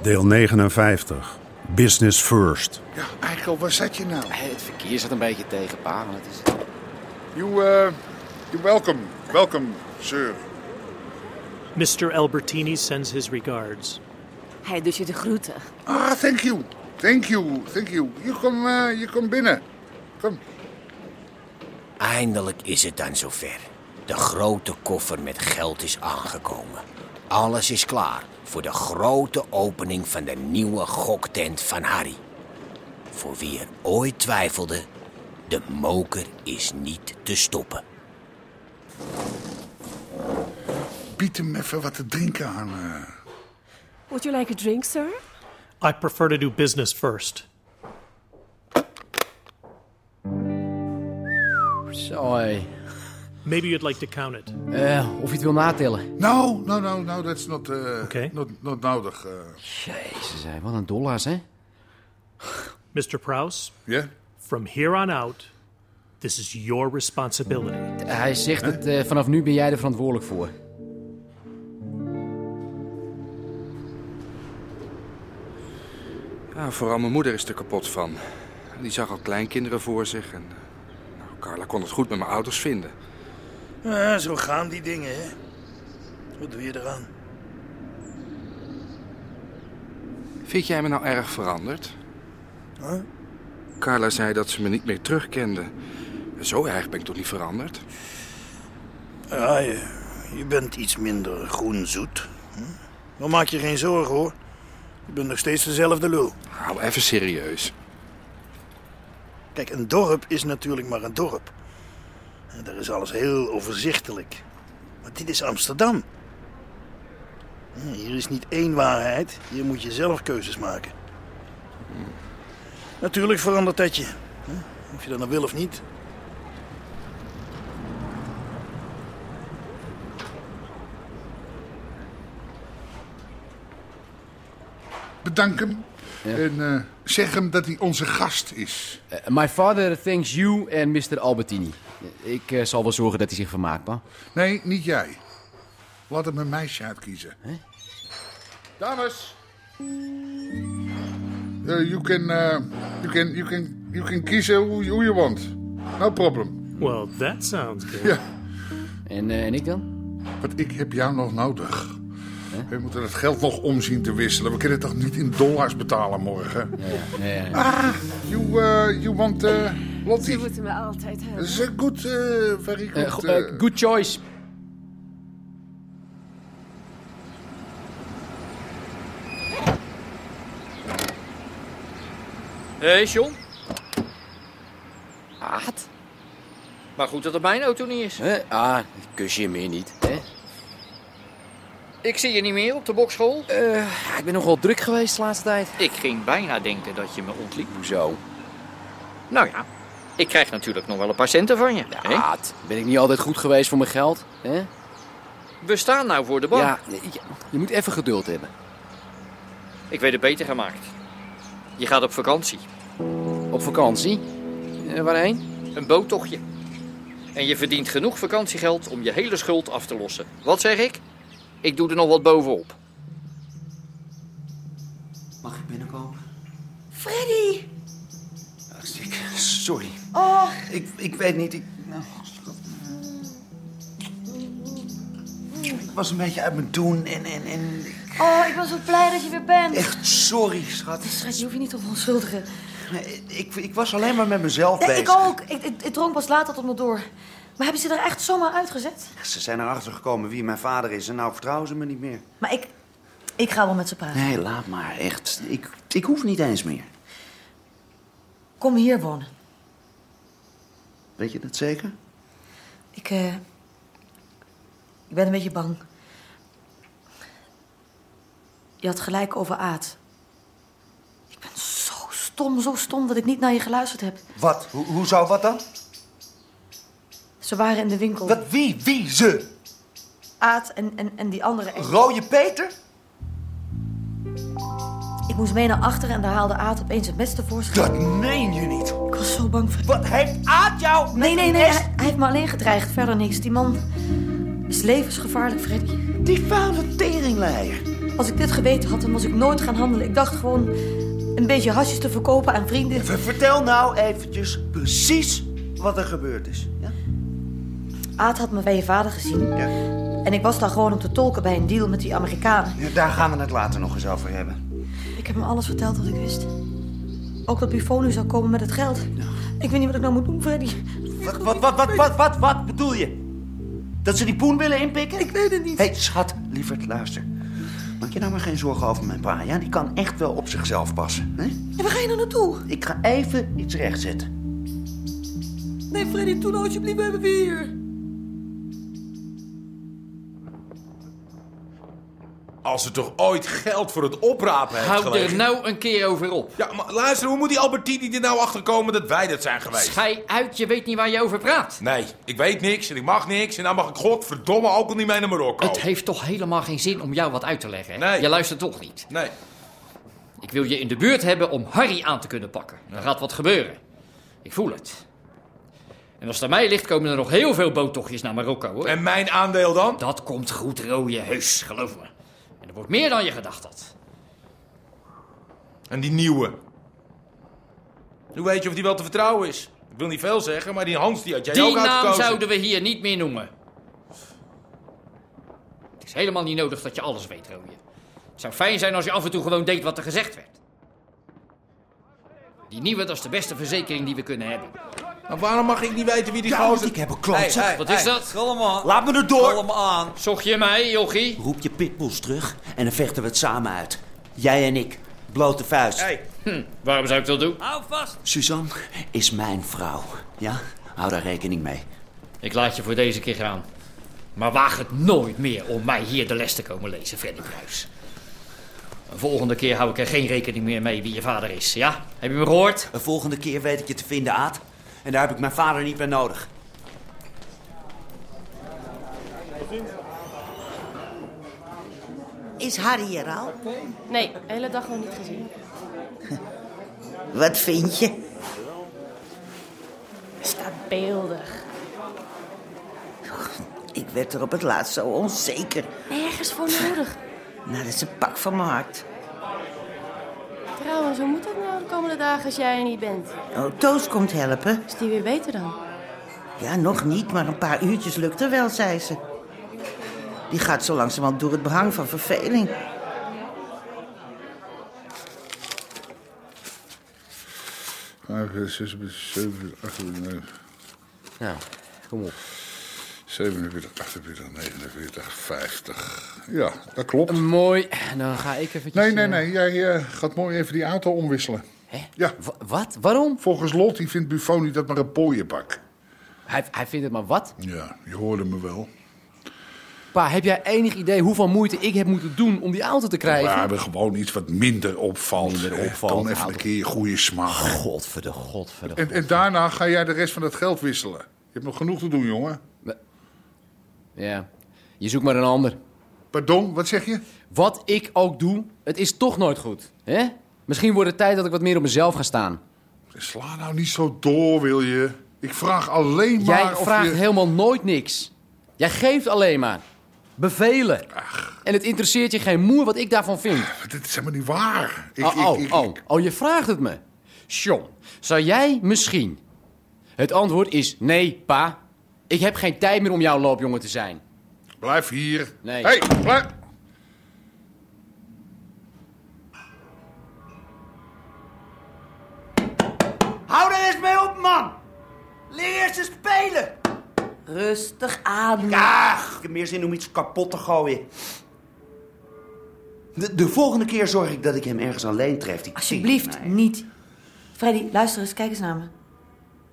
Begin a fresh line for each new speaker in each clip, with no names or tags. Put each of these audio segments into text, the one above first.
Deel 59. Business first.
Ja, Eikel, waar zat je nou?
Eh,
Hey, Het verkeer zat een beetje tegen palen. Het is...
You, uh, you welcome. Welcome, sir.
Mr. Albertini sends his regards.
Hij doet dus je de groeten.
Ah, thank you. Thank you, thank you. Je komt eh, je komt binnen. Kom.
Eindelijk is het dan zover. De grote koffer met geld is aangekomen. Alles is klaar voor de grote opening van de nieuwe goktent van Harry. Voor wie er ooit twijfelde, de moker is niet te stoppen.
Bied hem even wat te drinken aan. eh.
Would you like a drink, sir?
I prefer to do business first.
Sorry.
Maybe you'd like to count it.
Eh, of je het wil natellen.
No, no, no, no, nou, that's not, eh,
Oké.
not, not nodig. eh.
Jezus, hè, wat een dollars, hè?
Mr. Prouse,
Ja?
from here on out, this is your responsibility.
Hij zegt dat eh, vanaf nu ben jij er verantwoordelijk voor. Eh,
Ja, vooral mijn moeder is er kapot van. Die zag al kleinkinderen voor zich en... Nou, Carla kon het goed met mijn ouders vinden.
Ja, zo gaan die dingen, hè. Wat doe je eraan?
Vind jij me nou erg veranderd?
Huh?
Carla zei dat ze me niet meer terugkende. Zo erg ben ik toch niet veranderd?
Ja, Ah, je, je bent iets minder groenzoet. Hm? Maar maak je geen zorgen, hoor. Je bent nog steeds dezelfde lul.
Hou even serieus.
Kijk, een dorp is natuurlijk maar een dorp. En daar is alles heel overzichtelijk. Maar dit is Amsterdam. Hm, Hier is niet één waarheid. Hier moet je zelf keuzes maken. Natuurlijk verandert dat je. hè? Of je dat nou wil of niet.
Bedank hem. En eh, zeg hem dat hij onze gast is.
Eh, my father thanks you en Mr. Albertini. Eh, Ik eh, zal wel zorgen dat hij zich vermaakt, pa.
Nee, niet jij. Laat hem een meisje uitkiezen. Dames. Eh, you, can, eh, you, can, you, can, you can kiezen hoe hoe je want. No problem.
Well, that sounds good.
En, eh, en ik dan?
Want ik heb jou nog nodig. We moeten het geld nog omzien te wisselen. We kunnen het toch niet in dollars betalen morgen? Ah,
Eh,
You, eh, you want eh Lottie?
Ze moeten me altijd
Dat
hebben.
is een goed, eh very good.
eh, go-
eh,
eh, good choice.
Hé, John.
Aad?
Maar goed dat het mijn auto niet is.
Eh, ah, kus je meer niet, hè?
Ik zie je niet meer op de bokschool. Eh,
Ja, Eh, ik ben nogal druk geweest de laatste tijd.
Ik ging bijna denken dat je me ontliep.
Hoezo?
Nou ja, ik krijg natuurlijk nog wel een paar centen van je. hè?
Aad, ben ik niet altijd goed geweest voor mijn geld, hè?
We staan nou voor de bank.
Ja, nee, je- je moet even geduld hebben.
Ik weet het beter gemaakt. Je gaat op vakantie.
Op vakantie? Eh, waarheen?
Een boottochtje. En je verdient genoeg vakantiegeld om je hele schuld af te lossen. Wat zeg ik? Ik doe er nog wat bovenop.
Mag ik binnenkomen?
Freddy!
Sorry.
Oh,
Ik, ik weet niet. Ik,
Ik was een beetje uit mijn doen en... en, en...
oh, ik ben zo blij dat je weer bent.
Echt sorry, schat.
Schat, je hoeft je niet op te onschuldigen.
Ik, ik was alleen maar met mezelf
Nee,
bezig.
ik ook. Ik, ik, ik dronk pas later tot me door. Maar hebben ze er echt zomaar uitgezet?
Ze zijn erachter gekomen wie mijn vader is en nou vertrouwen ze me niet meer.
Maar ik, ik ga wel met ze praten.
Nee, laat maar, echt. Ik, ik hoef niet eens meer.
Kom hier wonen.
Weet je dat zeker?
Ik, eh, ik ben een beetje bang. Je had gelijk over Aad. Ik ben zo stom, zo stom dat ik niet naar je geluisterd heb.
Wat? Hoe hoezo wat dan?
Ze waren in de winkel.
Wat? Wie? Wie? Ze?
Aad en, en, en die andere. ex.
Rode Peter?
Ik moest mee naar achteren en daar haalde Aad opeens het mes tevoorschijn.
Meen je niet?
Ik was zo bang voor...
Wat heeft Aad jou?
Nee, nee, nee. Hij, hij heeft me alleen gedreigd. Verder niks. Die man is levensgevaarlijk, Freddy.
Die vuile teringleier.
Als ik dit geweten had, dan was ik nooit gaan handelen. Ik dacht gewoon een beetje hasjes te verkopen aan vrienden.
Ver- Vertel nou eventjes precies wat er gebeurd is. Ja?
Aad had me bij je vader gezien.
Ja.
En ik was daar gewoon om te tolken bij een deal met die Amerikanen.
Ja, Daar gaan we het later nog eens over hebben.
Ik heb hem alles verteld wat ik wist. Ook dat Buffon nu zou komen met het geld. Ik weet niet wat ik nou moet doen, Freddy.
Wat, wat, wat, wat, wat, wat, wat bedoel je? Dat ze die poen willen inpikken? Ik weet het niet. Hé, hey, schat, lieverd, luister. Maak je nou maar geen zorgen over mijn pa, ja? Die kan echt wel op zichzelf passen, hè?
En waar ga je nou naartoe?
Ik ga even iets rechtzetten.
Nee, Freddy, toen alsjeblieft bij me weer.
Als er toch ooit geld voor het oprapen heeft
Houd er
gelegen.
nou een keer over op.
Ja, maar luister, hoe moet die Albertini er nou achter komen dat wij dat zijn geweest?
Schij uit, je weet niet waar je over praat.
Nee, ik weet niks en ik mag niks en dan mag ik godverdomme ook al niet mee naar Marokko.
Het heeft toch helemaal geen zin om jou wat uit te leggen, hè?
Nee.
Je luistert toch niet.
Nee.
Ik wil je in de buurt hebben om Harry aan te kunnen pakken. Er gaat wat gebeuren. Ik voel het. En als het aan mij ligt, komen er nog heel veel boottochtjes naar Marokko, hoor.
En mijn aandeel dan?
Dat komt goed rode heus, geloof me. En er wordt meer dan je gedacht had.
En die nieuwe. Hoe weet je of die wel te vertrouwen is? Ik wil niet veel zeggen, maar die Hans die had jij
Die
ook
naam
uitgekozen.
zouden we hier niet meer noemen. Het is helemaal niet nodig dat je alles weet, Rooie. Het zou fijn zijn als je af en toe gewoon deed wat er gezegd werd. Die nieuwe, dat is de beste verzekering die we kunnen hebben.
Maar
Nou,
waarom mag ik niet weten wie die
Ja, want
gozer...
ik heb een klootzak.
Hey, hey,
Wat
hey.
is dat?
Laat me erdoor.
aan.
Zocht je mij, jochie?
Roep je pitbulls terug en dan vechten we het samen uit. Jij en ik. Blote vuist.
Hey,
Waarom zou ik dat doen?
Hou vast.
Suzanne is mijn vrouw. Ja? Hou daar rekening mee.
Ik laat je voor deze keer gaan. Maar waag het nooit meer om mij hier de les te komen lezen, Freddy Kruis. Een volgende keer hou ik er geen rekening meer mee wie je vader is, ja? Heb je me gehoord?
De volgende keer weet ik je te vinden, Aad. En daar heb ik mijn vader niet meer nodig.
Is Harry hier al?
Nee, de hele dag nog niet gezien.
Wat vind je?
Staat beeldig.
Ik werd er op het laatst zo onzeker.
Nergens voor nodig.
Nou, dat is een pak van mijn hart.
Trouwens, hoe moet dat nou de komende dagen als jij er niet bent?
Oh, Toos komt helpen.
Is die weer beter dan?
Ja, nog niet, maar een paar uurtjes lukt er wel, zei ze. Die gaat zo langzamerhand door het behang van verveling.
Vijf, eh, zes, zeven, acht, negen.
Nou, kom op.
47, 48, 49, 50. Ja, dat klopt.
Mooi, dan ga ik eventjes...
Nee, nee, nee. Jij eh, gaat mooi even die auto omwisselen. Hè? Ja.
eh, wat? Waarom?
Volgens Lottie vindt Buffon niet dat maar een pooienbak.
Hij, hij vindt het maar wat?
Ja, je hoorde me wel.
Pa, heb jij enig idee hoeveel moeite ik heb moeten doen om die auto te
We
krijgen?
hebben gewoon iets wat minder opvalt. Minder
opvalt,
Dan even een
auto.
keer je goede smaak.
Godverde, godverde.
Oh. En, en daarna ga jij de rest van dat geld wisselen. Je hebt nog genoeg te doen, jongen.
Ja, je zoekt maar een ander.
Pardon, wat zeg je?
Wat ik ook doe, het is toch nooit goed. Hè? Misschien wordt het tijd dat ik wat meer op mezelf ga staan.
Sla nou niet zo door, wil je? Ik vraag alleen maar
Jij
of
vraagt
je...
helemaal nooit niks. Jij geeft alleen maar. Bevelen. En het interesseert je geen moer wat ik daarvan vind.
Dit is helemaal niet waar. Ik-
oh,
ik-
oh,
ik-
oh, oh, je vraagt het me. John, zou jij misschien... Het antwoord is nee, pa. Ik heb geen tijd meer om jouw loopjongen te zijn.
Blijf hier.
Nee.
Hey, blijf...
Hou er eens mee op, man! Leer eerst eens spelen!
Rustig ademen.
Ach, ik heb meer zin om iets kapot te gooien. De, de volgende keer zorg ik dat ik hem ergens alleen tref. Die
Alsjeblieft, niet. Freddy, luister eens, kijk eens naar me.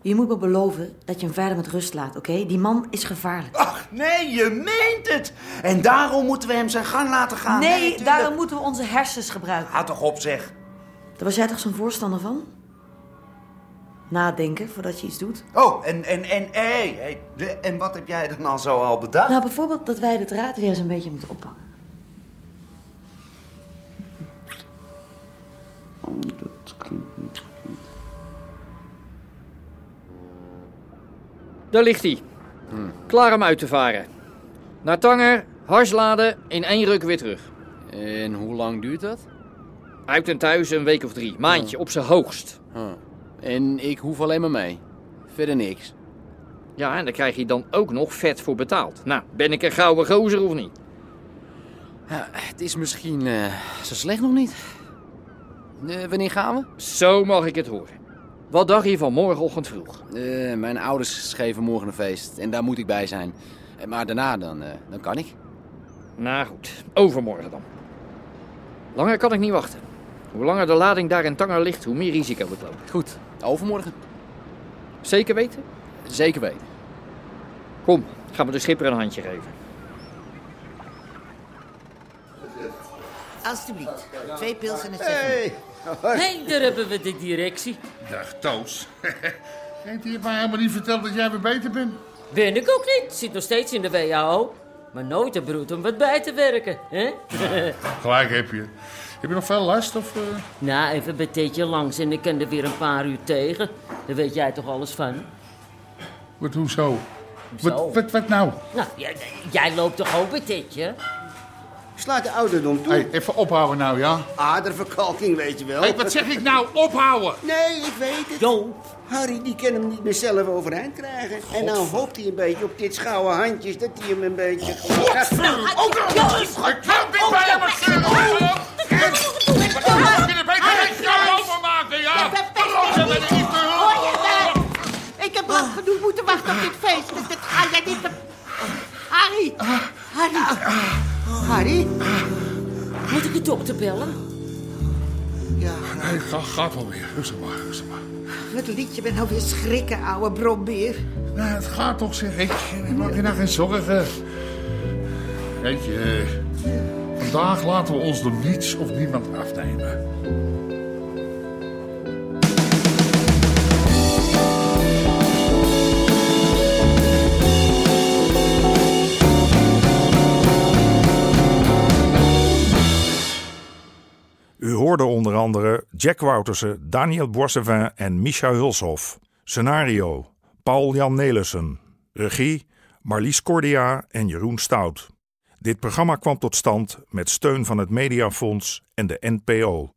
Je moet me beloven dat je hem verder met rust laat, oké? Die man is gevaarlijk.
Ach, nee, je meent het. En daarom moeten we hem zijn gang laten gaan.
Ah, nee,
natuurlijk.
daarom moeten we onze hersens gebruiken.
Ga toch op, zeg.
Daar was jij toch zo'n voorstander van? Nadenken voordat je iets doet.
Oh, en, en, en, hé, hé, de- en wat heb jij dan al zo al bedacht?
Nou, bijvoorbeeld dat wij het raad weer eens een beetje moeten oppakken.
Daar ligt hij. Klaar om uit te varen. Naar Tanger, harsladen, in één ruk weer terug.
En hoe lang duurt dat?
Uit en thuis een week of drie. Maandje, op zijn hoogst.
En ik hoef alleen maar mee. Verder niks.
Ja, en daar krijg je dan ook nog vet voor betaald. Nou, ben ik een gouden gozer of niet?
Ja, het is misschien eh, zo slecht nog niet. Eh, wanneer gaan we?
Zo mag ik het horen. Wat dacht je van morgenochtend vroeg?
Eh, mijn ouders geven morgen een feest en daar moet ik bij zijn. Eh, maar daarna dan, eh, dan kan ik.
Nou goed, overmorgen dan. Langer kan ik niet wachten. Hoe langer de lading daar in Tanger ligt, hoe meer risico ik loop.
Goed, overmorgen.
Zeker weten?
Zeker weten.
Kom, gaan we de schipper een handje geven.
Alsjeblieft. Twee pils en het
Hey.
Hé, daar hebben we de directie.
Dag, Toos. En die heeft mij helemaal niet verteld dat jij weer beter bent.
Ben ik ook niet. Zit nog steeds in de WHO. Maar nooit de broed om wat bij te werken. Hè?
Gelijk heb je. Heb je nog veel last? Of, eh?
nou, even bij Teetje langs en ik kan er weer een paar uur tegen. Daar weet jij toch alles van?
Wat, hoezo?
Hoezo?
Wat, wat, wat nou?
Nou, jij, jij loopt toch ook bij Teetje?
Slaat de ouderdom toe.
Hey, even ophouden nou, ja?
Aderverkalking, weet je wel.
Hey, wat zeg ik nou? Ophouden!
Nee, ik weet het.
Jo.
Harry, die kan hem niet meer zelf overeind krijgen. En nou hoopt hij een beetje op dit schouwe handjes dat hij hem een beetje...
Godverdomme! Oh, jongens! Ik hou dit
Oh,
bij hem!
Hoor je dat? Oh, Ik heb lang genoeg moeten wachten op dit feest, dus dat ga jij niet... te- Harry! Harry!
Harry?
Moet ik de dokter bellen?
Nee, ga, gaat wel weer. Rustig maar, rustig maar.
Wat liet je me nou weer schrikken, ouwe brombeer?
Nou, het gaat toch, zeg ik. Maak je nou geen zorgen. Weet je, eh, vandaag laten we ons door niets of niemand afnemen.
U hoorde onder andere Jack Woutersen, Daniel Boissevin en Micha Hulshoff. Scenario: Paul-Jan Nelissen. Regie: Marlies Cordia en Jeroen Stout. Dit programma kwam tot stand met steun van het Mediafonds en de NPO.